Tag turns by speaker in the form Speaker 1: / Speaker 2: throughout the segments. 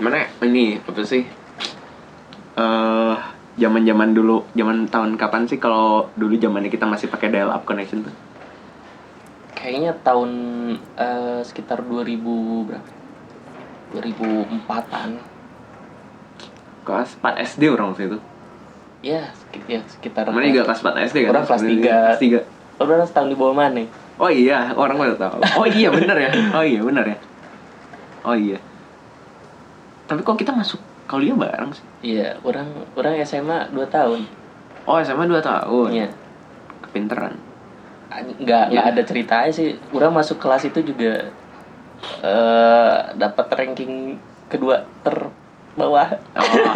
Speaker 1: Mana Oh, ini apa sih? Eh zaman-zaman dulu, zaman tahun kapan sih kalau dulu zamannya kita masih pakai dial up connection tuh?
Speaker 2: Kayaknya tahun eh, sekitar 2000 berapa? 2004-an.
Speaker 1: Kelas 4 SD orang waktu itu.
Speaker 2: Ya, sekitar, ya, sekitar.
Speaker 1: Mana juga kelas 4 SD kan?
Speaker 2: Orang kelas
Speaker 1: Sebenarnya.
Speaker 2: tiga.
Speaker 1: Kelas tiga.
Speaker 2: Oh, berapa setahun di bawah mana?
Speaker 1: Oh iya, orang udah tahu. Oh iya, benar ya. Oh iya, benar ya. Oh iya. Tapi kok kita masuk kuliah bareng sih?
Speaker 2: Iya, orang orang SMA 2 tahun.
Speaker 1: Oh, SMA 2 tahun.
Speaker 2: Iya.
Speaker 1: Kepinteran.
Speaker 2: nggak nggak
Speaker 1: Iya.
Speaker 2: ada ceritanya sih orang masuk kelas itu juga eh dapat ranking kedua terbawah
Speaker 1: Oh.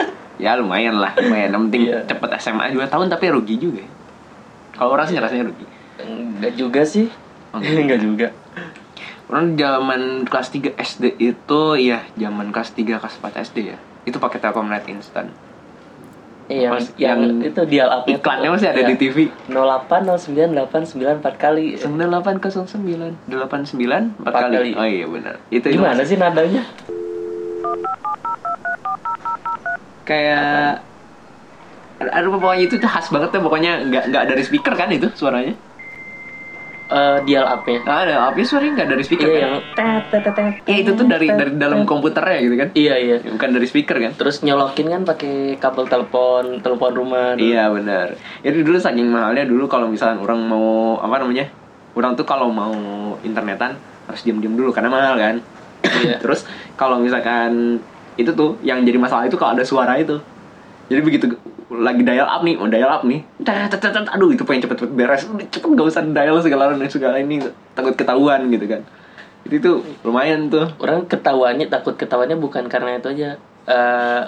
Speaker 1: ya lumayan lah, lumayan. Yang penting
Speaker 2: Iya.
Speaker 1: cepet SMA 2 tahun tapi rugi juga. ya. Kalau orang sih ngerasanya rugi.
Speaker 2: nggak juga sih
Speaker 1: Oh,
Speaker 2: nggak juga
Speaker 1: Orang zaman kelas 3 SD itu ya zaman kelas 3 kelas 4 SD ya. Itu pakai Telkomnet instan.
Speaker 2: Iya, yang,
Speaker 1: Mas,
Speaker 2: yang,
Speaker 1: yang
Speaker 2: itu iya. dial up
Speaker 1: Iklannya masih ada di TV.
Speaker 2: 08 09 8 9 4 kali
Speaker 1: 9809 89 4
Speaker 2: Empat
Speaker 1: kali.
Speaker 2: kali.
Speaker 1: Oh iya benar. Itu itu
Speaker 2: gimana sih nadanya
Speaker 1: kayak aduh pokoknya itu tuh khas banget tuh pokoknya nggak nggak dari speaker kan itu suaranya
Speaker 2: Eh dial upnya
Speaker 1: nggak ada apa suaranya nggak dari speaker
Speaker 2: iya
Speaker 1: kan?
Speaker 2: yang tet, tet, tet, tet,
Speaker 1: ya itu tuh dari
Speaker 2: tet,
Speaker 1: dari dalam
Speaker 2: tet.
Speaker 1: komputernya gitu kan
Speaker 2: iya iya
Speaker 1: Ya, bukan dari speaker kan
Speaker 2: terus nyolokin kan pakai kabel telepon telepon rumah dulu.
Speaker 1: iya benar itu dulu saking mahalnya dulu kalau misalnya orang mau apa namanya orang tuh kalau mau internetan harus diam-diam dulu karena mahal kan
Speaker 2: Iya.
Speaker 1: terus kalau misalkan itu tuh yang jadi masalah itu kalau ada suara itu jadi begitu lagi dial up nih mau dial up nih tet, tet, tet, aduh itu pengen cepet-cepet beres Udah, cepet gak usah dial segala segala ini takut ketahuan gitu kan itu tuh lumayan tuh
Speaker 2: orang ketawanya takut ketawanya bukan karena itu aja Eh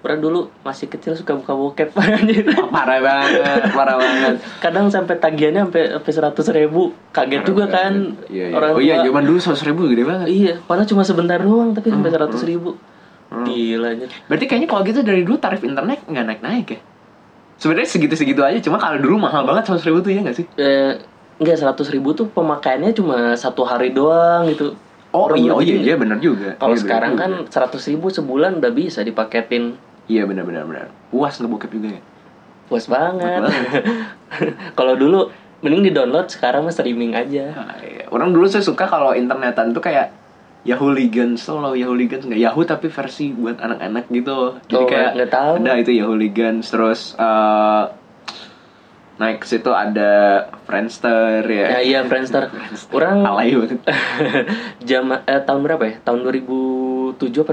Speaker 2: orang dulu masih kecil suka buka bokep anjir.
Speaker 1: parah banget parah banget
Speaker 2: kadang sampai tagihannya sampai sampai seratus ribu kaget juga kan
Speaker 1: Iya, iya.
Speaker 2: orang
Speaker 1: oh iya
Speaker 2: tua.
Speaker 1: zaman dulu seratus ribu gede banget
Speaker 2: iya padahal cuma sebentar doang tapi
Speaker 1: Hmm,
Speaker 2: sampai seratus ribu gila anjir.
Speaker 1: Berarti kayaknya kalau gitu dari dulu tarif internet nggak naik-naik ya? Sebenarnya segitu-segitu aja, cuma kalau dulu mahal banget 100 ribu tuh ya nggak sih?
Speaker 2: eh enggak seratus ribu tuh pemakaiannya cuma satu hari doang gitu
Speaker 1: Oh
Speaker 2: Orang
Speaker 1: iya, oh
Speaker 2: dulu
Speaker 1: iya,
Speaker 2: gitu.
Speaker 1: iya bener juga Iya,
Speaker 2: kalau
Speaker 1: bener
Speaker 2: sekarang
Speaker 1: juga.
Speaker 2: kan seratus ribu sebulan udah bisa dipaketin
Speaker 1: Iya bener-bener bener. Puas ngebokep juga ya?
Speaker 2: puas banget
Speaker 1: Puas
Speaker 2: kalau dulu mending di download sekarang mah streaming aja
Speaker 1: Ah, iya. Orang dulu saya suka kalau internetan tuh kayak Yahoo Legends tuh loh, Yahoo Legends nggak Yahoo tapi versi buat anak-anak gitu. Jadi
Speaker 2: Oh,
Speaker 1: kayak
Speaker 2: nggak tahu.
Speaker 1: Ada itu Yahoo Legends terus eh, naik ke situ ada Friendster ya.
Speaker 2: Ya, iya Friendster. Orang
Speaker 1: alay banget.
Speaker 2: jama eh, tahun berapa ya? Tahun 2007 apa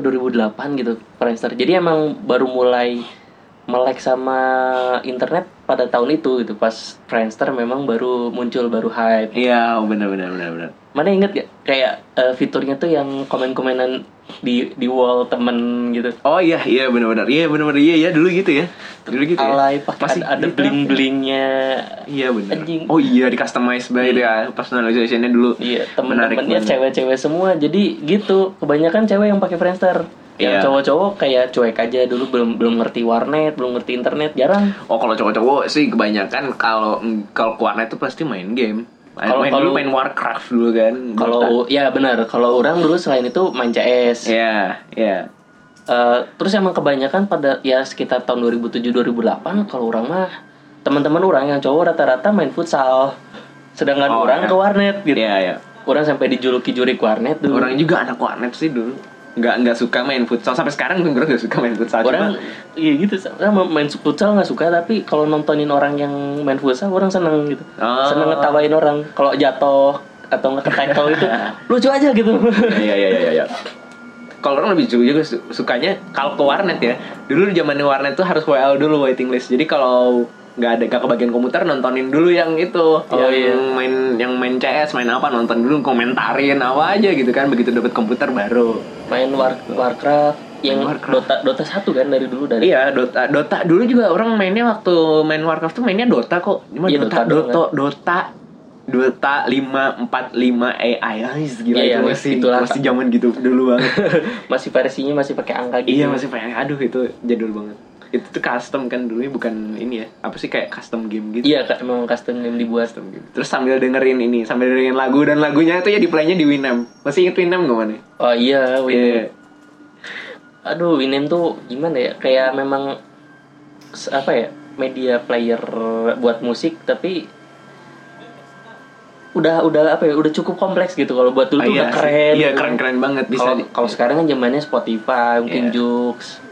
Speaker 2: 2008 gitu Friendster. Jadi emang baru mulai melek sama internet pada tahun itu gitu. Pas Friendster memang baru muncul, baru hype.
Speaker 1: Iya, bener-bener bener-bener.
Speaker 2: Mana inget gak kayak eh, fiturnya tuh yang komen-komenan di di wall temen gitu.
Speaker 1: Oh iya, iya benar-benar. Iya benar-benar. Iya, iya dulu gitu ya. Dulu gitu ya.
Speaker 2: Alay pakai
Speaker 1: Masih
Speaker 2: ada, ada
Speaker 1: gitu.
Speaker 2: bling-blingnya.
Speaker 1: Iya benar.
Speaker 2: Anjing. Hmm.
Speaker 1: Oh iya di customize by itu ya personalizationnya dulu.
Speaker 2: Iya,
Speaker 1: Menarik
Speaker 2: temen-temennya
Speaker 1: banget.
Speaker 2: cewek-cewek semua. Jadi gitu, kebanyakan cewek yang pakai Friendster. Yang
Speaker 1: Iya.
Speaker 2: cowok-cowok kayak cuek aja dulu belum belum ngerti warnet, belum ngerti internet, jarang.
Speaker 1: Oh kalau cowok-cowok sih kebanyakan kalau mm, kalau ke warnet itu pasti main game. Main,
Speaker 2: Kalau-
Speaker 1: main
Speaker 2: kalau-
Speaker 1: dulu main Warcraft dulu kan. Dota.
Speaker 2: Kalau ya benar, kalau orang dulu selain itu main CS.
Speaker 1: Iya, iya.
Speaker 2: Eh, terus emang kebanyakan pada ya sekitar tahun 2007-2008 kalau orang mah teman-teman orang yang cowok rata-rata main futsal. Sedangkan
Speaker 1: Oh, iya.
Speaker 2: orang ke warnet gitu.
Speaker 1: Iya, iya.
Speaker 2: Orang sampai dijuluki jurik warnet dulu.
Speaker 1: Orang juga anak warnet sih dulu. Nggak nggak suka main futsal sampai sekarang orang nggak suka main futsal.
Speaker 2: orang
Speaker 1: Cuma-
Speaker 2: iya gitu sama main futsal nggak suka tapi kalau nontonin orang yang main futsal orang seneng gitu
Speaker 1: Oh.
Speaker 2: seneng ngetawain orang kalau jatuh atau nggak tackle itu lucu aja gitu
Speaker 1: Iya iya iya iya, iya. Kalau orang lebih juga su- sukanya kalau ke warnet ya. Dulu zaman warnet tuh harus WL dulu waiting list. Jadi kalau nggak ada nggak kebagian komputer nontonin dulu yang itu
Speaker 2: Oh,
Speaker 1: yang
Speaker 2: iya.
Speaker 1: main yang main CS main apa nonton dulu komentarin apa aja gitu kan begitu dapat komputer baru
Speaker 2: main war warcraft yang
Speaker 1: Warcraft.
Speaker 2: dota dota satu kan dari dulu dari
Speaker 1: iya Dota Dota dulu juga orang mainnya waktu main Warcraft tuh mainnya Dota kok cuma
Speaker 2: Iya,
Speaker 1: Dota
Speaker 2: Dota doang,
Speaker 1: Dota Dota Dota lima empat lima AI Ais, gila itu
Speaker 2: Iya, iya,
Speaker 1: masih
Speaker 2: itulah.
Speaker 1: masih zaman gitu dulu banget
Speaker 2: masih versinya masih pakai angka gitu
Speaker 1: Iya masih pengen aduh itu jadul banget. itu tuh custom kan dulunya bukan ini ya apa sih kayak custom game gitu
Speaker 2: Iya, Kak, emang custom game dibuat.
Speaker 1: custom gitu. game terus sambil dengerin ini sambil dengerin lagu dan lagunya itu ya di playnya di Winamp masih inget Winamp gak mana
Speaker 2: Oh iya, Win.
Speaker 1: Iya.
Speaker 2: Aduh, Winem tuh gimana ya? Kayak memang s- apa ya? Media player buat musik tapi udah udah apa ya? Udah cukup kompleks gitu kalau buat dulu
Speaker 1: Ah,
Speaker 2: tuh
Speaker 1: iya
Speaker 2: udah
Speaker 1: sih.
Speaker 2: keren.
Speaker 1: iya
Speaker 2: gitu.
Speaker 1: keren keren banget bisa
Speaker 2: Kalau
Speaker 1: di-
Speaker 2: kalau sekarang kan zamannya Spotify, mungkin
Speaker 1: Iya.
Speaker 2: Joox.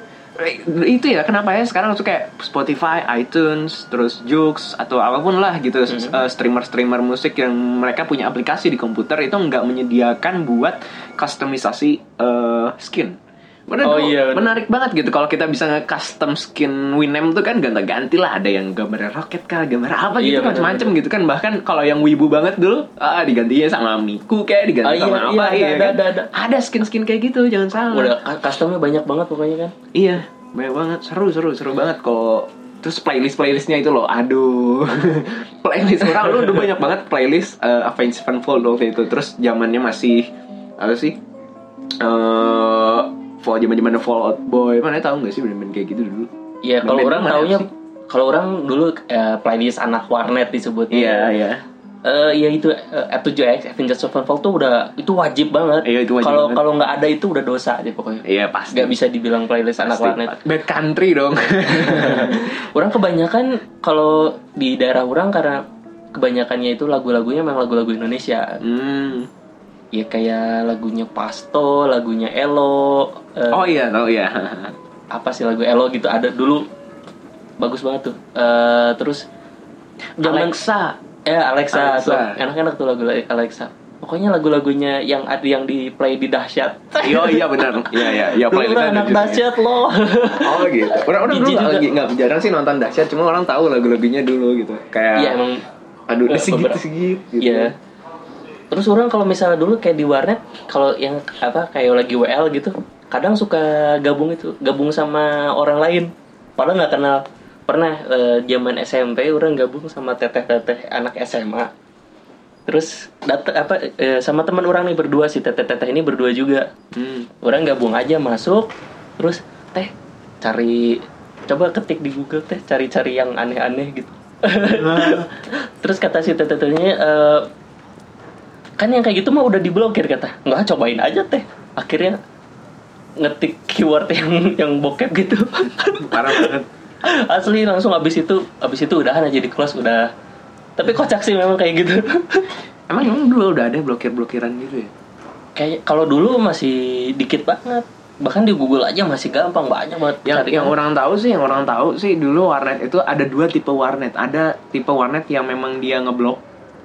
Speaker 1: itu ya kenapa ya sekarang tuh kayak Spotify, iTunes, terus Joox atau apapun lah gitu s-
Speaker 2: Mm-hmm.
Speaker 1: eh, streamer-streamer musik yang mereka punya aplikasi di komputer itu nggak menyediakan buat customisasi eh, skin. Bener
Speaker 2: Oh
Speaker 1: tuh,
Speaker 2: iya, bener.
Speaker 1: menarik banget gitu kalau kita bisa nge-custom skin Winem tuh kan ganti-ganti lah ada yang gambar roket kah, gambar apa gitu
Speaker 2: Iya, bener,
Speaker 1: macam-macam gitu kan bahkan kalau yang wibu banget dulu ah, digantinya sama Miku kayak diganti
Speaker 2: Ah, iya,
Speaker 1: sama
Speaker 2: iya,
Speaker 1: apa
Speaker 2: ada,
Speaker 1: ya
Speaker 2: ada,
Speaker 1: kan?
Speaker 2: ada, ada.
Speaker 1: skin-skin kayak gitu jangan salah.
Speaker 2: Udah cu- customnya banyak banget pokoknya kan.
Speaker 1: Iya, banyak banget. Seru, seru, seru banget kalau terus playlist playlistnya itu loh aduh playlist orang lu udah banyak banget playlist eh, Avenged Sevenfold waktu itu terus zamannya masih apa sih eh fall zaman zaman Fallout Boy mana ya, tahu nggak sih band-band kayak gitu dulu
Speaker 2: Iya, kalau
Speaker 1: Band-band
Speaker 2: orang
Speaker 1: mana
Speaker 2: taunya
Speaker 1: sih?
Speaker 2: kalau orang dulu eh, playlist anak warnet disebutnya.
Speaker 1: iya iya
Speaker 2: Eh ya itu eh, F7X Avengers Sevenfold tuh udah itu wajib banget.
Speaker 1: Iya, itu wajib
Speaker 2: Kalau
Speaker 1: banget.
Speaker 2: kalau nggak ada itu udah dosa aja pokoknya.
Speaker 1: iya pasti
Speaker 2: Nggak bisa dibilang playlist anak
Speaker 1: Pasti.
Speaker 2: warnet.
Speaker 1: bad country dong
Speaker 2: Orang kebanyakan kalau di daerah orang karena kebanyakannya itu lagu-lagunya memang lagu-lagu Indonesia.
Speaker 1: hmm.
Speaker 2: Ya kayak lagunya Pasto, lagunya Elo, eh,
Speaker 1: oh iya tahu ya
Speaker 2: apa sih lagu Elo gitu ada dulu bagus banget tuh. Eh, terus zaman
Speaker 1: Alexa
Speaker 2: Eh Alexa,
Speaker 1: Alexa.
Speaker 2: tuh enak-enak tuh lagu Alexa. Pokoknya lagu-lagunya yang ada yang di play di dahsyat.
Speaker 1: iya iya benar iya iya iya
Speaker 2: Dulu
Speaker 1: playlistnya
Speaker 2: orang
Speaker 1: ada
Speaker 2: anak
Speaker 1: judulnya.
Speaker 2: dahsyat loh.
Speaker 1: Oh gitu. Orang-orang dulu
Speaker 2: Jijik
Speaker 1: nggak
Speaker 2: juga.
Speaker 1: lagi nggak jarang sih nonton dahsyat, cuma orang tahu lagu-lagunya dulu gitu. Kayak
Speaker 2: Iya emang
Speaker 1: aduh
Speaker 2: eh,
Speaker 1: udah segit
Speaker 2: beberapa-
Speaker 1: segit gitu.
Speaker 2: iya. Terus orang kalau misalnya dulu kayak di warnet kalau yang apa kayak lagi WL gitu, kadang suka gabung itu, gabung sama orang lain. Padahal nggak kenal. Pernah eh, zaman SMP orang gabung sama teteh-teteh anak SMA. Terus datang apa eh, sama teman orang nih berdua si teteh-teteh ini berdua juga.
Speaker 1: Hmm.
Speaker 2: orang gabung aja masuk terus teh cari coba ketik di Google teh cari-cari yang aneh-aneh gitu terus kata si tetenya eh kan yang kayak gitu mah udah diblokir kata nggak cobain aja teh akhirnya ngetik keyword yang yang bokep gitu
Speaker 1: Parah banget.
Speaker 2: asli langsung abis itu abis itu udahan aja di close udah tapi kocak sih memang kayak gitu
Speaker 1: Emang emang dulu udah ada blokir-blokiran gitu ya?
Speaker 2: kayak kalau dulu masih dikit banget bahkan di Google aja masih gampang banyak banget
Speaker 1: Yang
Speaker 2: cari.
Speaker 1: yang orang tahu sih, yang orang tahu sih dulu warnet itu ada dua tipe warnet. Ada tipe warnet yang memang dia ngeblok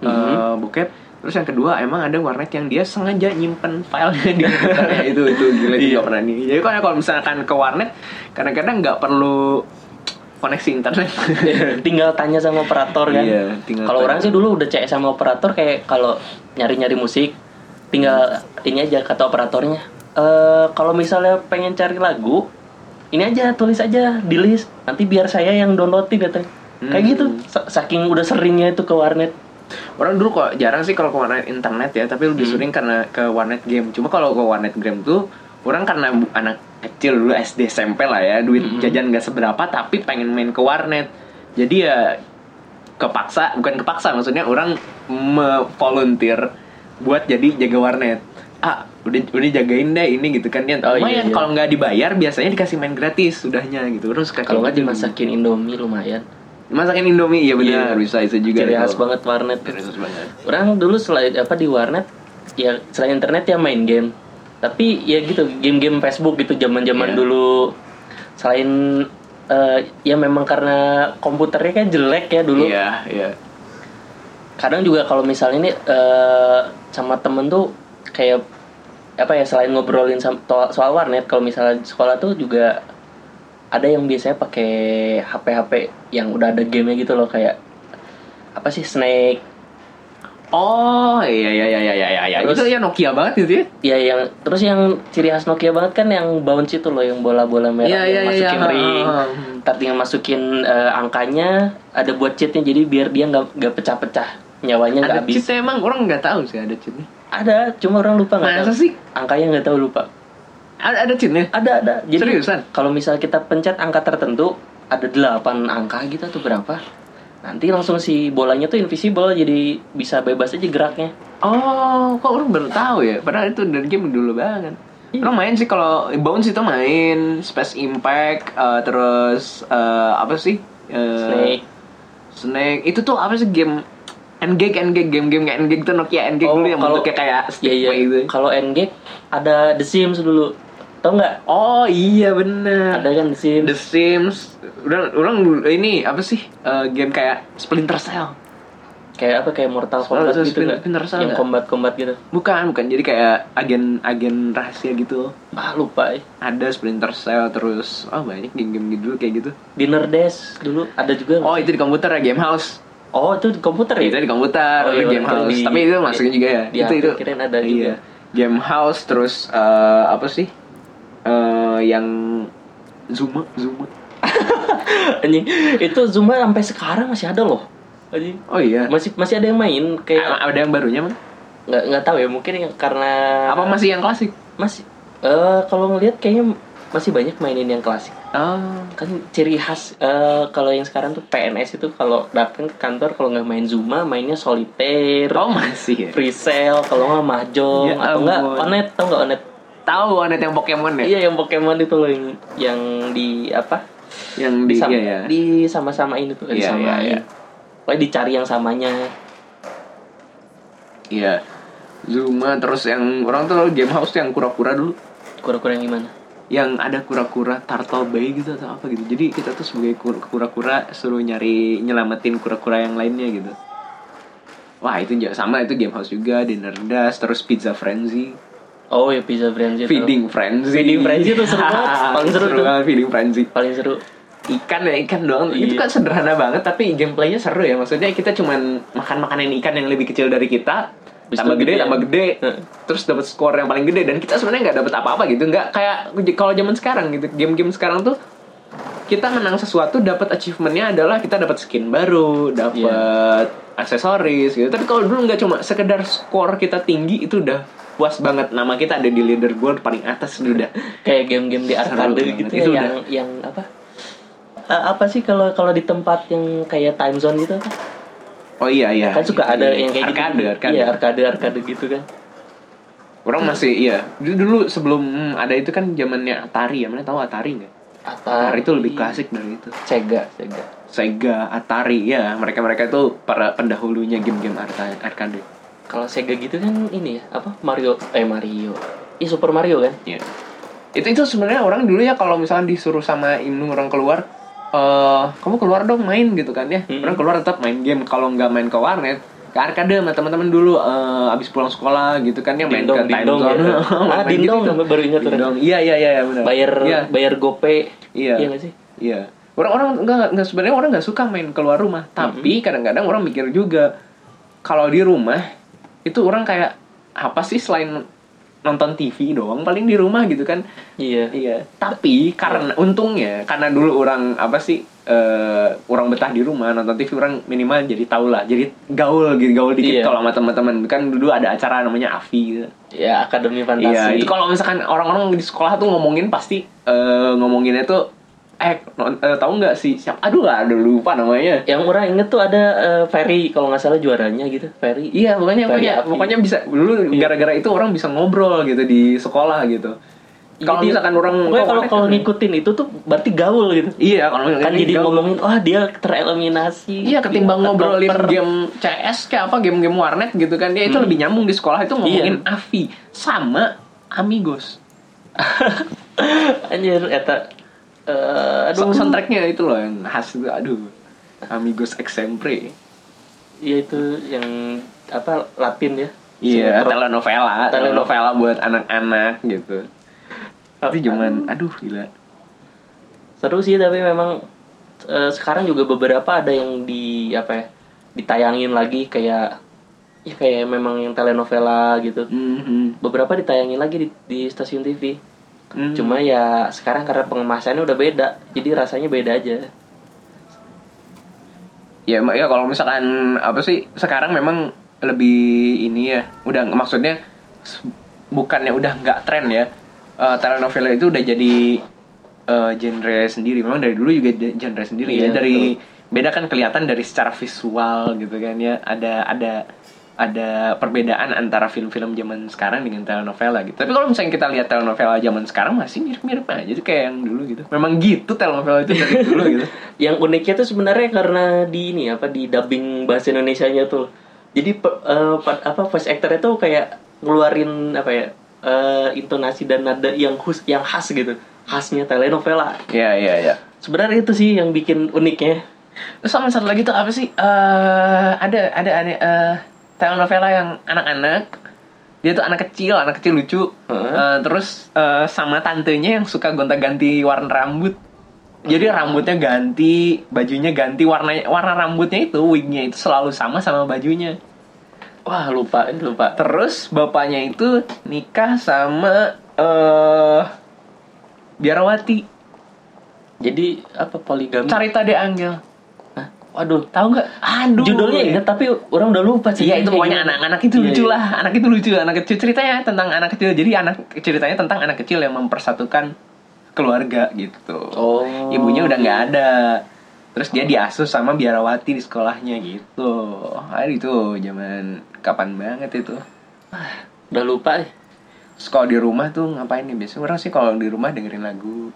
Speaker 1: eh
Speaker 2: Mhm.
Speaker 1: bokep. Terus yang kedua emang ada warnet yang dia sengaja nyimpen filenya di komputernya itu itu gila itu nggak pernah nih. Jadi kalau kalau misalkan ke warnet kadang-kadang nggak perlu koneksi internet.
Speaker 2: tinggal tanya sama operator kan.
Speaker 1: Iya, tinggal
Speaker 2: Kalau
Speaker 1: tanya.
Speaker 2: orang sih dulu udah CS sama operator kayak kalau nyari-nyari musik tinggal ini aja kata operatornya. Eh kalau misalnya pengen cari lagu ini aja tulis aja di list nanti biar saya yang downloadin katanya. Kayak
Speaker 1: Hmm.
Speaker 2: gitu sa- saking udah seringnya itu ke warnet.
Speaker 1: Orang dulu kok jarang sih kalau ke warnet internet ya, tapi lebih sering karena ke warnet game. Cuma kalau ke warnet game tuh orang karena bu- anak kecil dulu SD SMP lah ya, duit jajan nggak seberapa tapi pengen main ke warnet. Jadi ya kepaksa, bukan kepaksa maksudnya orang me-volunteer buat jadi jaga warnet. Ah, udah udah jagain deh ini gitu kan dia.
Speaker 2: Oh, iya,
Speaker 1: lumayan
Speaker 2: iya.
Speaker 1: kalau nggak dibayar biasanya dikasih main gratis sudahnya gitu. Terus suka kayak
Speaker 2: Kalau nggak
Speaker 1: gitu.
Speaker 2: dimasakin Indomie lumayan.
Speaker 1: Masakin Indomie ya benar
Speaker 2: Iya.
Speaker 1: bisa itu juga.
Speaker 2: Ciri khas
Speaker 1: tuh.
Speaker 2: banget warnet.
Speaker 1: Ciri khas banget.
Speaker 2: orang dulu selain apa di warnet ya selain internet ya main game tapi ya gitu game-game Facebook gitu
Speaker 1: Iya.
Speaker 2: zaman-zaman dulu selain eh, ya memang karena komputernya kan jelek ya dulu
Speaker 1: Iya, iya.
Speaker 2: kadang juga kalau misalnya ini eh, sama temen tuh kayak apa ya selain ngobrolin sam- to- soal warnet kalau misalnya di sekolah tuh juga ada yang biasanya pakai HP-HP yang udah ada gamenya gitu loh kayak apa sih Snake
Speaker 1: Oh iya iya iya iya iya iya.
Speaker 2: Terus-
Speaker 1: itu ya Nokia banget itu ya.
Speaker 2: Iya yang terus yang ciri khas Nokia banget kan yang bounce itu loh yang bola-bola merah
Speaker 1: Iya,
Speaker 2: yang
Speaker 1: iya, iya,
Speaker 2: masukin
Speaker 1: iya.
Speaker 2: ring. Ntar tinggal masukin eh, angkanya ada buat cheatnya jadi biar dia nggak nggak pecah-pecah nyawanya nggak
Speaker 1: Ada
Speaker 2: habis.
Speaker 1: cheatnya emang orang nggak tahu sih ada cheatnya.
Speaker 2: Ada cuma orang lupa nggak
Speaker 1: Masa
Speaker 2: tahu.
Speaker 1: sih
Speaker 2: Angkanya nggak tahu lupa.
Speaker 1: ada ada cheatnya?
Speaker 2: Ada ada. Jadi
Speaker 1: Seriusan?
Speaker 2: kalau misal kita pencet angka tertentu ada delapan angka gitu atau berapa nanti langsung si bolanya tuh invisible jadi bisa bebas aja geraknya
Speaker 1: Oh, kok orang baru tahu ya? Padahal itu dari game dulu banget.
Speaker 2: Iya.
Speaker 1: Orang main sih kalau Bounce itu main, Space Impact, eh, terus eh, apa sih? Eh,
Speaker 2: Snake
Speaker 1: Snake. Itu tuh apa sih game N-Gag, N-Gag, game-game kayak N-Gag tuh Nokia N-Gag dulu yang bentuknya kayak stick
Speaker 2: Oh, iya,
Speaker 1: kayak gitu.
Speaker 2: iya. kalau NG ada The Sims dulu tau nggak
Speaker 1: Oh iya bener.
Speaker 2: ada kan The Sims
Speaker 1: The Sims. Orang, orang ini apa sih? Eh, game kayak Splinter Cell.
Speaker 2: kayak apa kayak Mortal
Speaker 1: Soalnya
Speaker 2: Kombat
Speaker 1: itu
Speaker 2: gitu
Speaker 1: spin-
Speaker 2: nggak
Speaker 1: spin terasa
Speaker 2: yang
Speaker 1: nggak?
Speaker 2: combat combat gitu
Speaker 1: Bukan, bukan. Jadi kayak agen-agen rahasia gitu.
Speaker 2: ah lupa eh.
Speaker 1: Ada Splinter Cell terus oh banyak game-game gitu kayak gitu.
Speaker 2: Dinner Dash dulu ada juga nggak?
Speaker 1: Oh itu di komputer ya game house.
Speaker 2: oh itu di komputer ya
Speaker 1: Itu di komputer
Speaker 2: Oh, iya,
Speaker 1: game
Speaker 2: itu
Speaker 1: house.
Speaker 2: di-
Speaker 1: Tapi itu masukin juga ya.
Speaker 2: di
Speaker 1: itu
Speaker 2: HP
Speaker 1: itu.
Speaker 2: kirain ada
Speaker 1: iya.
Speaker 2: juga.
Speaker 1: Game house terus eh, apa sih? Eh yang Zuma Zuma.
Speaker 2: anjing itu Zumba sampai sekarang masih ada loh anjing
Speaker 1: Oh iya.
Speaker 2: masih masih ada yang main kayak
Speaker 1: Ah, Ada yang barunya Mang?
Speaker 2: nggak nggak tahu ya mungkin yang karena
Speaker 1: Apa masih yang klasik?
Speaker 2: masih eh kalau ngelihat kayaknya masih banyak mainin yang klasik
Speaker 1: Oh.
Speaker 2: kan ciri khas eh kalau yang sekarang tuh PNS itu kalau datang ke kantor kalau nggak main Zuma mainnya solitaire
Speaker 1: Oh masih ya.
Speaker 2: free sale kalau nggak
Speaker 1: Ya
Speaker 2: mahjong atau nggak
Speaker 1: ampun.
Speaker 2: onet tau nggak onet
Speaker 1: Tahu ada yang Pokemon ya?
Speaker 2: iya yang Pokemon itu loh yang, yang di apa
Speaker 1: Yang di
Speaker 2: disam,
Speaker 1: iya, ya.
Speaker 2: di sama-samain itu
Speaker 1: Iya,
Speaker 2: eh, disamain.
Speaker 1: iya, iya.
Speaker 2: Pokoknya dicari yang samanya
Speaker 1: Iya. Zuma terus yang orang tuh lalu game house tuh yang kura-kura dulu
Speaker 2: kura-kura yang gimana
Speaker 1: yang ada kura-kura turtle bay gitu atau apa gitu jadi kita tuh sebagai kur- kura-kura suruh nyari nyelamatin kura-kura yang lainnya gitu wah itu juga sama itu game house juga dinner dash terus pizza frenzy
Speaker 2: oh ya pizza frenzy itu.
Speaker 1: feeding frenzy
Speaker 2: Feeding frenzy tuh seru banget. Paling seru tuh.
Speaker 1: banget feeding frenzy
Speaker 2: paling seru
Speaker 1: ikan ya ikan doang itu
Speaker 2: Iya.
Speaker 1: kan sederhana banget tapi gameplaynya seru ya maksudnya kita cuman makan makanan ikan yang lebih kecil dari kita
Speaker 2: Habis
Speaker 1: tambah
Speaker 2: itu
Speaker 1: gede
Speaker 2: gede.
Speaker 1: tambah gede
Speaker 2: Heeh.
Speaker 1: terus dapat skor yang paling gede dan kita sebenarnya nggak dapat apa-apa gitu nggak kayak kalau zaman sekarang gitu game-game sekarang tuh kita menang sesuatu dapat achievementnya adalah kita dapat skin baru dapat aksesoris gitu tapi kalau dulu nggak cuma sekedar skor kita tinggi itu udah puas banget nama kita ada di leaderboard paling atas udah
Speaker 2: kayak game-game di
Speaker 1: Seru
Speaker 2: arcade
Speaker 1: banget.
Speaker 2: gitu
Speaker 1: Itu
Speaker 2: ya, yang yang apa Eh, apa sih kalau kalau di tempat yang kayak time zone gitu apa?
Speaker 1: oh iya iya
Speaker 2: kan suka ada yang kayak
Speaker 1: Arcade,
Speaker 2: gitu
Speaker 1: arcade.
Speaker 2: iya arcade arcade gitu kan
Speaker 1: Orang masih iya. Dulu, dulu sebelum ada itu kan zamannya Atari ya. Mana tahu Atari nggak? Atari itu lebih klasik dari itu.
Speaker 2: Sega Sega
Speaker 1: Sega, Atari ya. Mereka-mereka itu para pendahulunya game-game arta- arcade.
Speaker 2: kalau Sega gitu kan ini ya apa Mario eh Mario Iya Super Mario kan
Speaker 1: Ya. Itu itu sebenarnya orang dulu ya kalau misalnya disuruh sama Ibnu orang keluar eh kamu keluar dong main gitu kan ya.
Speaker 2: Hmm.
Speaker 1: Orang keluar tetap main game kalau nggak main ke warnet ke arcade sama teman-teman dulu eh, abis pulang sekolah gitu kan ya main ke
Speaker 2: Dindong
Speaker 1: time
Speaker 2: Dindong
Speaker 1: zone.
Speaker 2: gitu. ah
Speaker 1: Main gitu,
Speaker 2: Dindong
Speaker 1: gitu.
Speaker 2: baru ingat tuh
Speaker 1: Dindong. Iya iya iya benar.
Speaker 2: bayar
Speaker 1: Iya.
Speaker 2: bayar GoPay
Speaker 1: Iya.
Speaker 2: iya nggak sih
Speaker 1: Iya. Orang-orang enggak enggak sebenarnya orang nggak suka main keluar rumah, tapi kadang-kadang orang mikir juga kalau di rumah itu orang kayak apa sih selain nonton TV doang paling di rumah gitu kan.
Speaker 2: iya
Speaker 1: Iya. Tapi karena untungnya karena dulu orang apa sih eh, orang betah di rumah nonton TV orang minimal jadi tau lah jadi gaul gitu gaul dikit
Speaker 2: Iya.
Speaker 1: kalau sama teman-teman kan dulu ada acara namanya AVI gitu.
Speaker 2: ya Akademi
Speaker 1: Iya,
Speaker 2: Fantasi
Speaker 1: itu kalau misalkan orang-orang di sekolah tuh ngomongin pasti eh, ngomonginnya tuh eh non- eh, tahu nggak sih siapa? Aduh lah, aduh lupa namanya.
Speaker 2: yang orang inget tuh ada eh, Ferry kalau nggak salah juaranya gitu Ferry
Speaker 1: Iya, pokoknya
Speaker 2: Tadi
Speaker 1: pokoknya,
Speaker 2: api. Iya.
Speaker 1: pokoknya bisa dulu gara-gara itu orang bisa ngobrol gitu di sekolah gitu. Kalau
Speaker 2: Iya, dia-
Speaker 1: misalkan orang
Speaker 2: pokoknya kalau
Speaker 1: kok-
Speaker 2: kalau ngikutin itu tuh berarti gaul gitu
Speaker 1: ya. Iya, kalau
Speaker 2: kan jadi
Speaker 1: gaul.
Speaker 2: ngomongin wah dia tereliminasi
Speaker 1: Iya, ketimbang
Speaker 2: Dia
Speaker 1: ngobrolin
Speaker 2: terper.
Speaker 1: game CS kayak apa game-game warnet gitu kan. Ya itu
Speaker 2: Hmm.
Speaker 1: lebih nyambung di sekolah
Speaker 2: Iya.
Speaker 1: itu ngomongin Avi sama Amigos.
Speaker 2: anjir eta eh, aduh
Speaker 1: Aduh, soundtracknya itu loh yang khas itu. Aduh. Amigos Exempre.
Speaker 2: iya itu yang apa Latin ya
Speaker 1: Iya,
Speaker 2: Sinetron.
Speaker 1: telenovela, telenovela buat anak-anak gitu. Tapi cuman, aduh gila.
Speaker 2: seru sih tapi memang eh, sekarang juga beberapa ada yang di apa ya ditayangin lagi kayak ya kayak memang yang telenovela gitu
Speaker 1: Mhm.
Speaker 2: beberapa ditayangin lagi di, di stasiun TV
Speaker 1: Hmm.
Speaker 2: cuma ya sekarang karena pengemasannya udah beda jadi rasanya beda aja
Speaker 1: Ya, mak- ya kalau misalkan apa sih sekarang memang lebih ini ya, udah maksudnya s- bukannya udah nggak tren ya. Eh, telenovela itu udah jadi eh, genre sendiri. Memang dari dulu juga de- genre sendiri ya.
Speaker 2: Iya,
Speaker 1: Dari beda kan kelihatan dari secara visual gitu kan ya. Ada ada ada perbedaan antara film-film zaman sekarang dengan telenovela gitu. Tapi kalau misalnya kita lihat telenovela zaman sekarang masih mirip-mirip aja tuh kayak yang dulu gitu. Memang gitu telenovela itu dari dulu gitu.
Speaker 2: yang uniknya tuh sebenarnya karena di ini apa di dubbing bahasa Indonesianya tuh jadi pe- eh, pa- apa voice actornya tuh kayak ngeluarin apa ya eh, intonasi dan nada yang khus yang khas gitu khasnya telenovela
Speaker 1: Iya, iya, iya.
Speaker 2: sebenarnya itu sih yang bikin uniknya
Speaker 1: Terus sama satu lagi tuh apa sih? eh ada ada ada eh, telenovela yang anak-anak. Dia tuh anak kecil, anak kecil lucu.
Speaker 2: Heeh.
Speaker 1: Eh, terus eh, sama tantenya yang suka gonta-ganti warna rambut. Jadi rambutnya ganti, bajunya ganti, warnanya warna rambutnya itu wignya itu selalu sama sama bajunya.
Speaker 2: wah lupa lupa
Speaker 1: Terus bapaknya itu nikah sama eh biarawati.
Speaker 2: jadi apa poligami
Speaker 1: Carita de Angel.
Speaker 2: Hah? waduh
Speaker 1: Tahu nggak? Aduh.
Speaker 2: judulnya ya? ingat tapi orang udah lupa sih Iya,
Speaker 1: Iya itu pokoknya anak-anak itu lucu lah, anak itu lucu, anak kecil ceritanya tentang anak kecil. Jadi anak ceritanya tentang anak kecil yang mempersatukan keluarga gitu.
Speaker 2: oh
Speaker 1: Ibunya udah nggak ada. Terus dia diasuh sama biarawati di sekolahnya gitu. Aduh itu zaman kapan banget itu.
Speaker 2: udah lupa eh.
Speaker 1: Terus kalau di rumah tuh ngapain nih? Biasanya orang sih kalau di rumah dengerin lagu,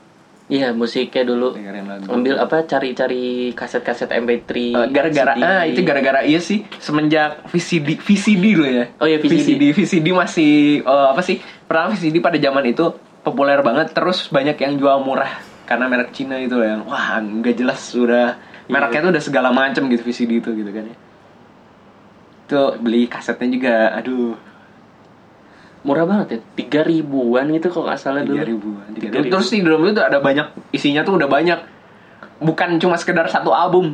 Speaker 2: iya musiknya dulu
Speaker 1: dengerin lagu.
Speaker 2: ambil apa cari-cari kaset-kaset MP3
Speaker 1: Eh, gara-gara
Speaker 2: CD.
Speaker 1: ah itu gara-gara iya sih semenjak VCD VCD lo ya
Speaker 2: Oh iya, VCD.
Speaker 1: VCD VCD masih eh, apa sih pertama VCD pada zaman itu populer banget terus banyak yang jual murah karena merek Cina itu loh yang wah nggak jelas sudah
Speaker 2: Iya.
Speaker 1: mereknya tuh udah segala macam gitu VCD itu gitu kan ya itu beli kasetnya juga aduh
Speaker 2: murah banget ya tiga ribuan gitu kalau nggak salah
Speaker 1: tiga
Speaker 2: dulu
Speaker 1: ribuan tiga
Speaker 2: 3.000.
Speaker 1: terus di dalam itu ada banyak isinya tuh udah banyak bukan cuma sekedar satu album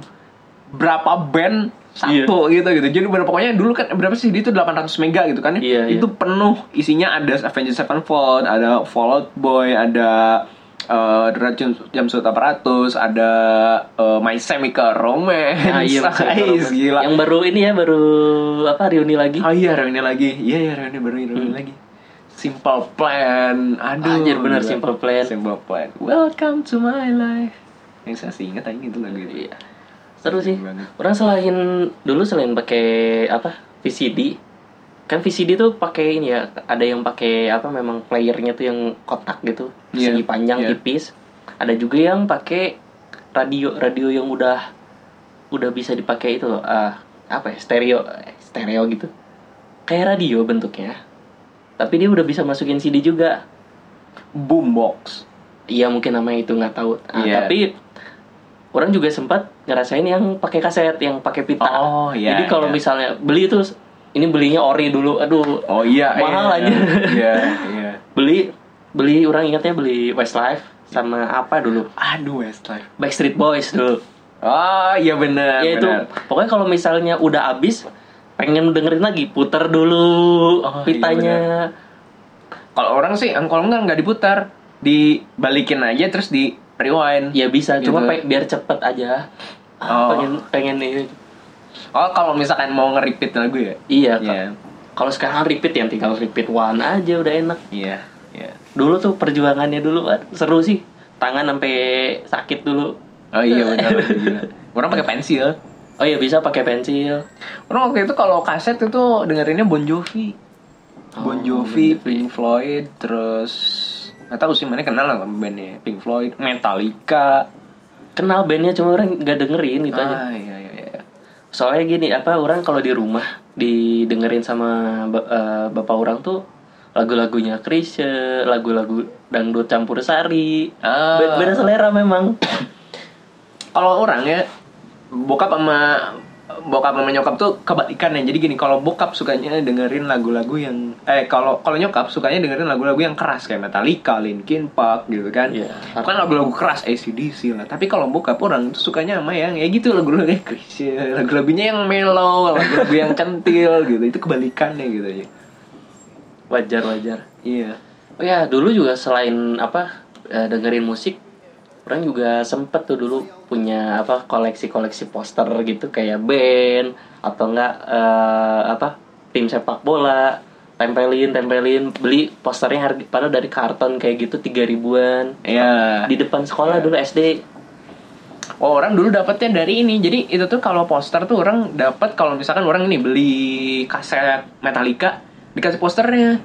Speaker 1: berapa band satu
Speaker 2: Iya.
Speaker 1: gitu gitu jadi bener- pokoknya dulu kan berapa sih itu 800 mega gitu kan ya.
Speaker 2: Iya, iya.
Speaker 1: itu penuh isinya ada Avengers Sevenfold ada Fallout Boy ada eh Racun Jumpsuit Apparatus ada eh, My Chemical Romance
Speaker 2: Nah, iya,
Speaker 1: Guys,
Speaker 2: maksudnya kalau-
Speaker 1: gila
Speaker 2: yang baru ini ya baru apa reuni lagi
Speaker 1: Oh iya reuni lagi. Iya iya reuni baru reuni lagi. Simple Plan. Aduh.
Speaker 2: Hmm. Anjir, bener,
Speaker 1: gila.
Speaker 2: Simple Plan.
Speaker 1: Simple Plan. Welcome to my life. Yang saya sih ingat aja itu lagu itu.
Speaker 2: Iya. seru sih
Speaker 1: Keren banget.
Speaker 2: orang selain dulu selain pakai apa VCD kan VCD tuh pakai ini ya ada yang pakai apa memang playernya tuh yang kotak gitu
Speaker 1: Iya,
Speaker 2: segi panjang
Speaker 1: iya.
Speaker 2: tipis ada juga yang pakai radio radio yang udah udah bisa dipakai itu loh ah, apa ya stereo stereo gitu kayak radio bentuknya tapi dia udah bisa masukin CD juga
Speaker 1: Boombox.
Speaker 2: Iya mungkin namanya itu nggak tahu. Ah,
Speaker 1: Iya.
Speaker 2: Tapi orang juga sempat ngerasain yang pakai kaset, yang pakai pita.
Speaker 1: Oh, iya,
Speaker 2: Jadi kalau
Speaker 1: iya.
Speaker 2: misalnya beli itu, ini belinya ori dulu. Aduh,
Speaker 1: Oh iya.
Speaker 2: Mahal
Speaker 1: iya,
Speaker 2: aja.
Speaker 1: Iya iya.
Speaker 2: beli beli orang ingatnya beli Westlife sama apa dulu?
Speaker 1: Aduh Westlife.
Speaker 2: Backstreet Boys dulu.
Speaker 1: Oh iya benar.
Speaker 2: ya itu
Speaker 1: benar.
Speaker 2: pokoknya kalau misalnya udah habis pengen dengerin lagi puter dulu
Speaker 1: Oh, iya,
Speaker 2: pitanya
Speaker 1: Kalau orang sih kalau enggak nggak diputar, dibalikin aja terus di rewind.
Speaker 2: ya bisa cuma
Speaker 1: Gitu.
Speaker 2: pe- biar cepet aja
Speaker 1: Oh.
Speaker 2: Ah, pengen pengen ini
Speaker 1: Oh kalau misalkan mau nge-repeat lagu ya.
Speaker 2: iya Kak.
Speaker 1: Iya.
Speaker 2: kalau sekarang repeat yang tinggal repeat one aja udah enak
Speaker 1: Iya. Iya.
Speaker 2: dulu tuh perjuangannya dulu kan seru sih tangan sampai sakit dulu
Speaker 1: Oh iya benar. gila. Orang pakai pensil.
Speaker 2: oh iya bisa pakai pensil
Speaker 1: Orang waktu itu kalau kaset itu dengerinnya Bon Jovi. Bon
Speaker 2: Oh,
Speaker 1: Jovi,
Speaker 2: Bon Jovi.
Speaker 1: Pink Floyd, terus nggak tahu sih mana kenal lah sama bandnya Pink Floyd, Metallica.
Speaker 2: kenal bandnya cuma orang nggak dengerin gitu aja
Speaker 1: Ah iya iya iya.
Speaker 2: soalnya gini apa orang kalau di rumah didengerin sama ba- eh, bapak orang tuh lagu-lagunya Krisye lagu-lagu dangdut campur sari
Speaker 1: Ah.
Speaker 2: Be- beda selera memang
Speaker 1: Kalau orang ya bokap sama bokap sama nyokap tuh kebalikannya. Jadi gini, kalau bokap sukanya dengerin lagu-lagu yang eh kalau kalau nyokap sukanya dengerin lagu-lagu yang keras kayak Metallica, Linkin Park gitu kan.
Speaker 2: Iya.
Speaker 1: Bukan lagu-lagu keras ACDC lah. Tapi kalau bokap orang tuh sukanya sama yang ya gitu lagu-lagu yang Chrisye, lagu-lagunya yang mellow, lagu-lagu yang kentil gitu. Itu kebalikannya gitu ya.
Speaker 2: wajar wajar
Speaker 1: Iya.
Speaker 2: Oh ya dulu juga selain apa eh, dengerin musik, orang juga sempet tuh dulu punya apa koleksi-koleksi poster gitu kayak band atau enggak eh, apa tim sepak bola tempelin tempelin beli posternya harga padahal dari karton kayak gitu tiga ribuan
Speaker 1: Iya.
Speaker 2: di depan sekolah dulu SD
Speaker 1: Oh, orang dulu dapatnya dari ini. Jadi itu tuh kalau poster tuh orang dapat kalau misalkan orang ini beli kaset Metallica dikasih posternya.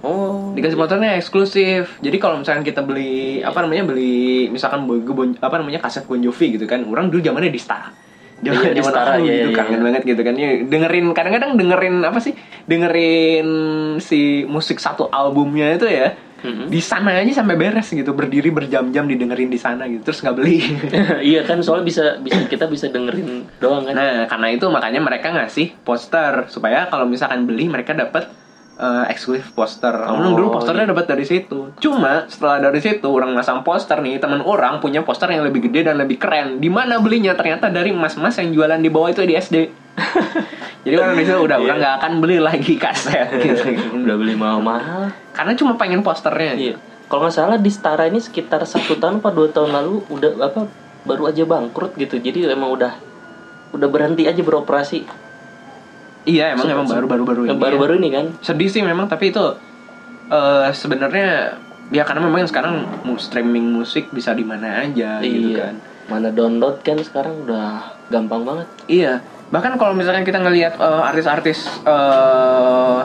Speaker 2: oh
Speaker 1: Dikasih posternya eksklusif. Jadi kalau misalkan kita beli apa namanya beli misalkan Bon- Bon- apa namanya kaset Bon Jovi gitu kan. Orang dulu zamannya di Star.
Speaker 2: Iya, di Stara,
Speaker 1: dulu
Speaker 2: iya,
Speaker 1: gitu
Speaker 2: iya,
Speaker 1: kangen
Speaker 2: iya.
Speaker 1: banget gitu kan. Ya, dengerin kadang-kadang dengerin apa sih? Dengerin si musik satu albumnya itu ya.
Speaker 2: Mm-mm.
Speaker 1: Di sana aja sampai beres gitu, berdiri berjam-jam didengerin di sana gitu, terus nggak beli.
Speaker 2: iya kan soalnya bisa bisa kita bisa dengerin doang kan
Speaker 1: Nah, karena itu makanya mereka ngasih poster supaya kalau misalkan beli mereka dapat eh, eksklusif poster. Emang
Speaker 2: Oh,
Speaker 1: dulu posternya dapat dari situ. Cuma setelah dari situ orang masang poster nih, teman orang punya poster yang lebih gede dan lebih keren. Di mana belinya? Ternyata dari mas-mas yang jualan di bawah itu di SD. Jadi orang di situ udah
Speaker 2: Iya.
Speaker 1: orang nggak akan beli lagi kaset gitu.
Speaker 2: udah beli mahal mahal
Speaker 1: Karena cuma pengen posternya.
Speaker 2: Iya. Kalau nggak salah di Stara ini sekitar satu tahun apa dua tahun lalu udah apa baru aja bangkrut gitu. Jadi emang udah udah berhenti aja beroperasi.
Speaker 1: Iya, emang emang baru-baru baru ini.
Speaker 2: Yang
Speaker 1: ya.
Speaker 2: Baru-baru ini kan.
Speaker 1: sedih sih memang tapi itu eh sebenarnya ya karena memang sekarang mu- streaming musik bisa di mana aja gitu
Speaker 2: iya.
Speaker 1: kan
Speaker 2: Mana download kan sekarang udah gampang banget.
Speaker 1: iya bahkan kalau misalkan kita ngelihat eh, artis-artis eh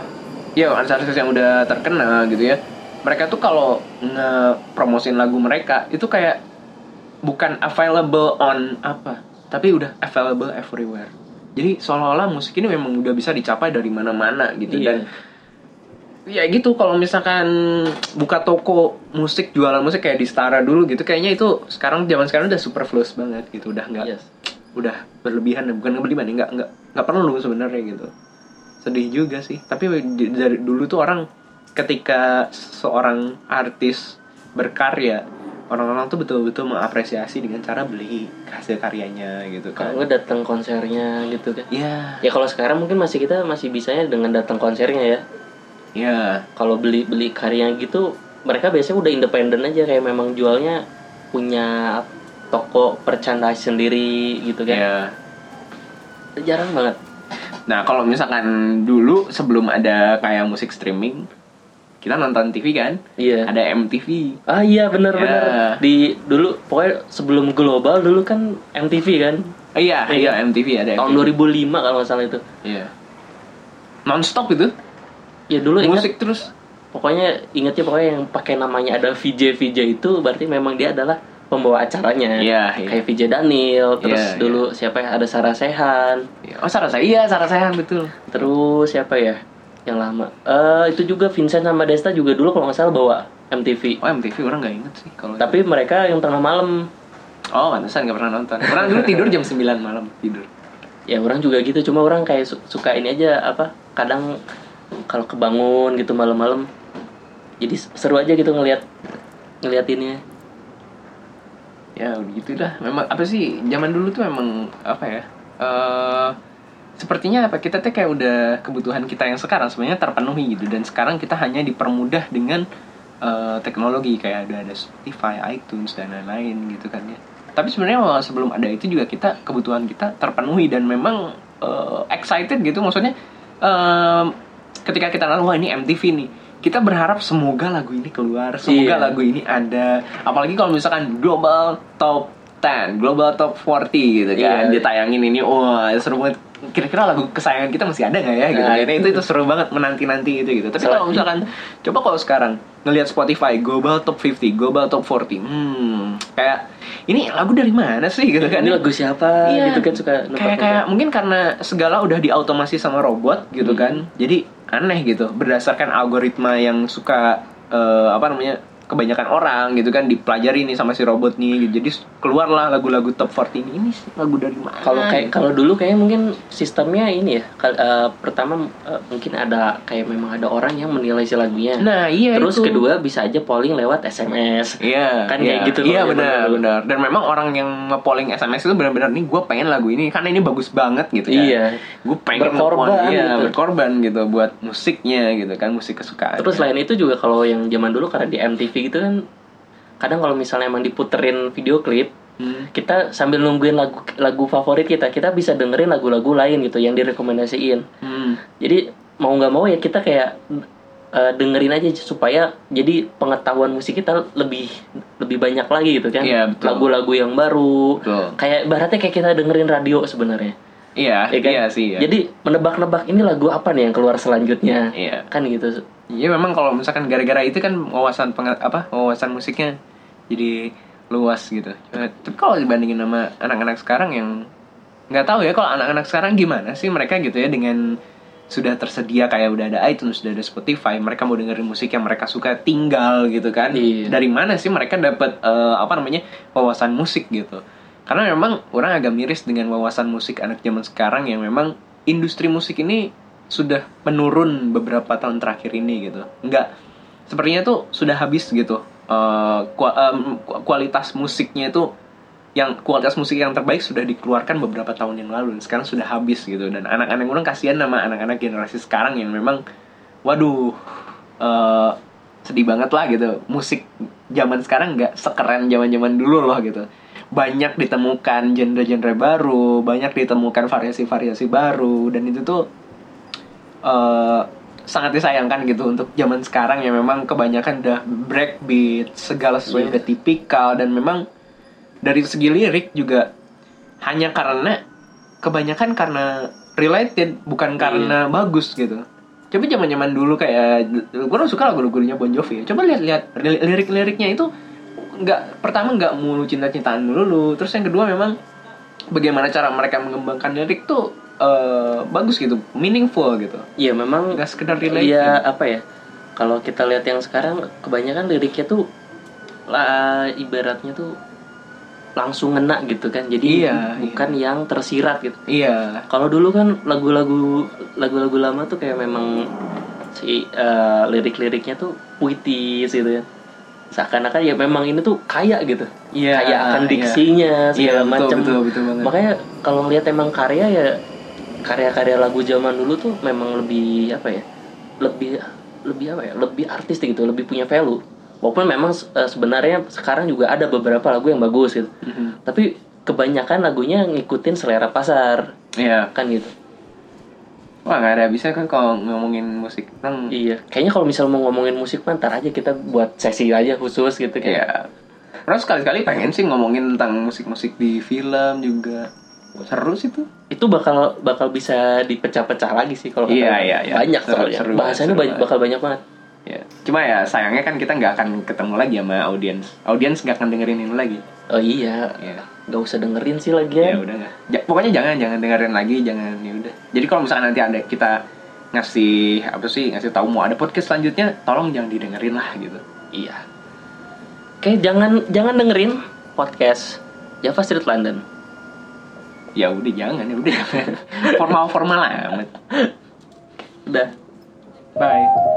Speaker 1: ya artis-artis yang udah terkenal gitu ya mereka tuh kalau ngepromosin lagu mereka itu kayak bukan available on apa tapi udah available everywhere jadi seolah-olah musik ini memang udah bisa dicapai dari mana-mana gitu
Speaker 2: Iya.
Speaker 1: dan ya gitu kalau misalkan buka toko musik jualan musik kayak di Stara dulu gitu kayaknya itu sekarang zaman sekarang udah superfluous banget gitu udah nggak
Speaker 2: Yes.
Speaker 1: udah berlebihan dan bukan berlebihan ya, nggak nggak nggak perlu sebenarnya gitu sedih juga sih tapi di- dari dulu tuh orang ketika seorang artis berkarya orang-orang tuh betul-betul mengapresiasi dengan cara beli hasil karyanya gitu kan
Speaker 2: Kalau nggak datang konsernya gitu kan.
Speaker 1: ya
Speaker 2: Ya kalau sekarang mungkin masih kita masih bisanya dengan datang konsernya ya.
Speaker 1: ya
Speaker 2: Kalau beli beli karya gitu mereka biasanya udah independen aja kayak memang jualnya punya toko merchandise sendiri gitu kan.
Speaker 1: ya Iya.
Speaker 2: Jarang banget.
Speaker 1: Nah, kalau misalkan dulu sebelum ada kayak musik streaming, kita nonton TV kan?
Speaker 2: Iya.
Speaker 1: Ada MTV.
Speaker 2: Ah iya benar-benar
Speaker 1: Ya.
Speaker 2: di dulu pokoknya sebelum global dulu kan MTV kan
Speaker 1: Oh, iya, iya, MTV ada.
Speaker 2: tahun
Speaker 1: MTV.
Speaker 2: 2005 kalau nggak salah itu
Speaker 1: Iya. Non-stop itu.
Speaker 2: ya dulu ingat
Speaker 1: musik terus.
Speaker 2: pokoknya ingatnya pokoknya yang pakai namanya ada VJ VJ itu berarti memang dia adalah pembawa acaranya
Speaker 1: Iya, iya.
Speaker 2: kayak VJ Daniel terus
Speaker 1: Iya,
Speaker 2: dulu siapa ya ada Sarah Sehan
Speaker 1: Oh, Sarah saya. Iya, Sarah saya betul.
Speaker 2: terus siapa ya yang lama eh itu juga Vincent sama Desta juga dulu kalau nggak salah bawa MTV
Speaker 1: Oh, MTV orang nggak inget sih kalau
Speaker 2: tapi mereka yang tengah malam
Speaker 1: Oh, pantesan nggak pernah nonton. Orang dulu tidur jam 9 malam tidur.
Speaker 2: ya orang juga gitu cuma orang kayak su- suka ini aja apa kadang kalau kebangun gitu malam-malam jadi s- seru aja gitu ngelihat ngeliatinnya
Speaker 1: ya udah gitu dah memang apa sih zaman dulu tuh memang apa ya eh sepertinya apa kita tuh kayak udah kebutuhan kita yang sekarang sebenarnya terpenuhi gitu dan sekarang kita hanya dipermudah dengan eh, teknologi kayak ada ada Spotify, iTunes dan lain-lain gitu kan ya tapi sebenarnya eh, sebelum ada itu juga kita kebutuhan kita terpenuhi dan memang eh, excited gitu maksudnya eh, ketika kita lalu wah ini MTV nih kita berharap semoga lagu ini keluar semoga
Speaker 2: Iya.
Speaker 1: lagu lagu ini ada apalagi kalau misalkan global top 10 global top 40 gitu kan
Speaker 2: Iya.
Speaker 1: ditayangin ini wah seru banget kira-kira lagu kesayangan kita masih ada nggak ya gitu
Speaker 2: Nah,
Speaker 1: Ini- itu itu seru banget menanti nanti itu gitu tapi
Speaker 2: Salah.
Speaker 1: kalau misalkan coba kalau sekarang ngelihat Spotify global top 50 global top 40 hmm kayak ini lagu dari mana sih gitu kan
Speaker 2: ini lagu siapa
Speaker 1: Iya.
Speaker 2: gitu kan suka
Speaker 1: kayak kayak mungkin karena segala udah diautomasi sama robot
Speaker 2: Hmm.
Speaker 1: gitu kan jadi aneh gitu berdasarkan algoritma yang suka eh, apa namanya kebanyakan orang gitu kan dipelajari nih sama si robot nih gitu. jadi keluarlah lagu-lagu top 40 ini ini sih lagu dari mana
Speaker 2: kalau kayak kalau dulu kayaknya mungkin sistemnya ini ya kal- eh, pertama eh, mungkin ada kayak memang ada orang yang menilai si lagunya
Speaker 1: nah iya
Speaker 2: terus
Speaker 1: itu.
Speaker 2: kedua bisa aja polling lewat SMS
Speaker 1: Iya,
Speaker 2: Kan
Speaker 1: iya.
Speaker 2: kayak gitu
Speaker 1: Iya benar,
Speaker 2: loh, ya benar.
Speaker 1: benar. Dan memang orang yang nge-polling SMS itu benar-benar nih gue pengen lagu ini karena ini bagus banget gitu kan.
Speaker 2: Iya.
Speaker 1: Gue pengen
Speaker 2: Berkorban
Speaker 1: nge-polling, iya,
Speaker 2: gitu.
Speaker 1: berkorban gitu buat musiknya gitu kan, musik kesukaan.
Speaker 2: Terus lain itu juga kalau yang zaman dulu karena di MTV gitu kan kadang kalau misalnya emang diputerin video klip
Speaker 1: Hmm.
Speaker 2: kita sambil nungguin lagu lagu favorit kita kita bisa dengerin lagu-lagu lain gitu yang direkomendasiin
Speaker 1: Hmm.
Speaker 2: jadi mau nggak mau ya kita kayak eh, dengerin aja supaya jadi pengetahuan musik kita lebih lebih banyak lagi gitu kan
Speaker 1: Iya, betul.
Speaker 2: lagu-lagu yang baru
Speaker 1: Betul.
Speaker 2: kayak ibaratnya kayak kita dengerin radio sebenarnya
Speaker 1: Iya,
Speaker 2: Iya kan?
Speaker 1: iya sih. Iya.
Speaker 2: jadi menebak-nebak ini lagu apa nih yang keluar selanjutnya
Speaker 1: Iya.
Speaker 2: kan gitu
Speaker 1: Iya memang kalau misalkan gara-gara itu kan wawasan penge- apa wawasan musiknya jadi luas gitu. Cuma- Tapi kalau dibandingin sama anak-anak sekarang yang nggak tahu ya kalau anak-anak sekarang gimana sih mereka gitu ya dengan sudah tersedia kayak udah ada iTunes, sudah ada Spotify, mereka mau dengerin musik yang mereka suka tinggal gitu kan.
Speaker 2: Iya.
Speaker 1: Dari mana sih mereka dapat eh, apa namanya wawasan musik gitu? Karena memang orang agak miris dengan wawasan musik anak zaman sekarang yang memang industri musik ini sudah menurun beberapa tahun terakhir ini gitu. Enggak sepertinya tuh sudah habis gitu. Eh, kua- em, ku- kualitas musiknya itu yang kualitas musik yang terbaik sudah dikeluarkan beberapa tahun yang lalu dan sekarang sudah habis gitu dan anak-anak orang kasihan sama anak-anak generasi sekarang yang memang waduh eh, sedih banget lah gitu musik zaman sekarang nggak sekeren zaman zaman dulu loh gitu banyak ditemukan genre-genre baru banyak ditemukan variasi-variasi baru dan itu tuh eh, sangat disayangkan gitu untuk zaman sekarang yang memang kebanyakan udah breakbeat segala sesuatu
Speaker 2: Iya.
Speaker 1: udah tipikal dan memang dari segi lirik juga hanya karena kebanyakan karena related bukan karena bagus gitu coba zaman zaman dulu kayak gue suka lagu-lagunya Bon Jovi ya coba lihat-lihat li- lirik-liriknya itu nggak pertama nggak mulu cinta-cintaan dulu terus yang kedua memang bagaimana cara mereka mengembangkan lirik tuh eh, bagus gitu meaningful gitu
Speaker 2: Iya memang
Speaker 1: nggak sekedar related
Speaker 2: Iya apa ya? Kalau kita lihat yang sekarang kebanyakan liriknya tuh lah ibaratnya tuh langsung ngena gitu kan. Jadi
Speaker 1: Iya,
Speaker 2: bukan yang tersirat gitu.
Speaker 1: iya
Speaker 2: Kalau dulu kan lagu-lagu lagu-lagu lama tuh kayak memang si eh, lirik-liriknya tuh puitis gitu ya. Seakan-akan ya memang ini tuh kaya gitu.
Speaker 1: Iya,
Speaker 2: kaya akan
Speaker 1: iya.
Speaker 2: diksinya
Speaker 1: iya
Speaker 2: segala
Speaker 1: betul,
Speaker 2: macam.
Speaker 1: betul betul banget
Speaker 2: Makanya kalau ngelihat emang karya ya karya-karya lagu zaman dulu tuh memang lebih apa ya? Lebih lebih apa ya? Lebih artistik gitu, lebih punya value. Walaupun memang eh, sebenarnya sekarang juga ada beberapa lagu yang bagus gitu.
Speaker 1: Mhm.
Speaker 2: Tapi kebanyakan lagunya ngikutin selera pasar
Speaker 1: iya
Speaker 2: kan gitu.
Speaker 1: wah nggak ada bisa kan kalau ngomongin musik tentang
Speaker 2: Iya. Kayaknya kalau misal mau ngomongin musik mah ntar aja kita buat sesi aja khusus gitu
Speaker 1: Iya.
Speaker 2: kayak.
Speaker 1: Orang sekali-kali pengen sih ngomongin tentang musik-musik di film juga. Seru sih tuh.
Speaker 2: Itu bakal bakal bisa dipecah-pecah lagi sih kalau kata
Speaker 1: Iya,
Speaker 2: orang.
Speaker 1: iya, iya.
Speaker 2: Banyak
Speaker 1: Seru-
Speaker 2: soalnya.
Speaker 1: seru
Speaker 2: Bahasanya
Speaker 1: banget, seru
Speaker 2: banyak, bakal banyak banget.
Speaker 1: Ya. Cuma ya sayangnya kan kita nggak akan ketemu lagi sama audiens. Audiens nggak akan dengerin ini lagi.
Speaker 2: Oh iya,
Speaker 1: Ya.
Speaker 2: nggak usah dengerin sih lagi
Speaker 1: Ya udah nggak. Ja- pokoknya jangan jangan dengerin lagi, jangan ya udah. Jadi kalau misalkan nanti ada kita ngasih apa sih ngasih tahu mau ada podcast selanjutnya, tolong jangan didengerin lah gitu.
Speaker 2: Iya. Oke, jangan jangan dengerin podcast Java Street London.
Speaker 1: Ya udah jangan, ya udah jangan. Formal-formal amat.
Speaker 2: Udah.
Speaker 1: Bye.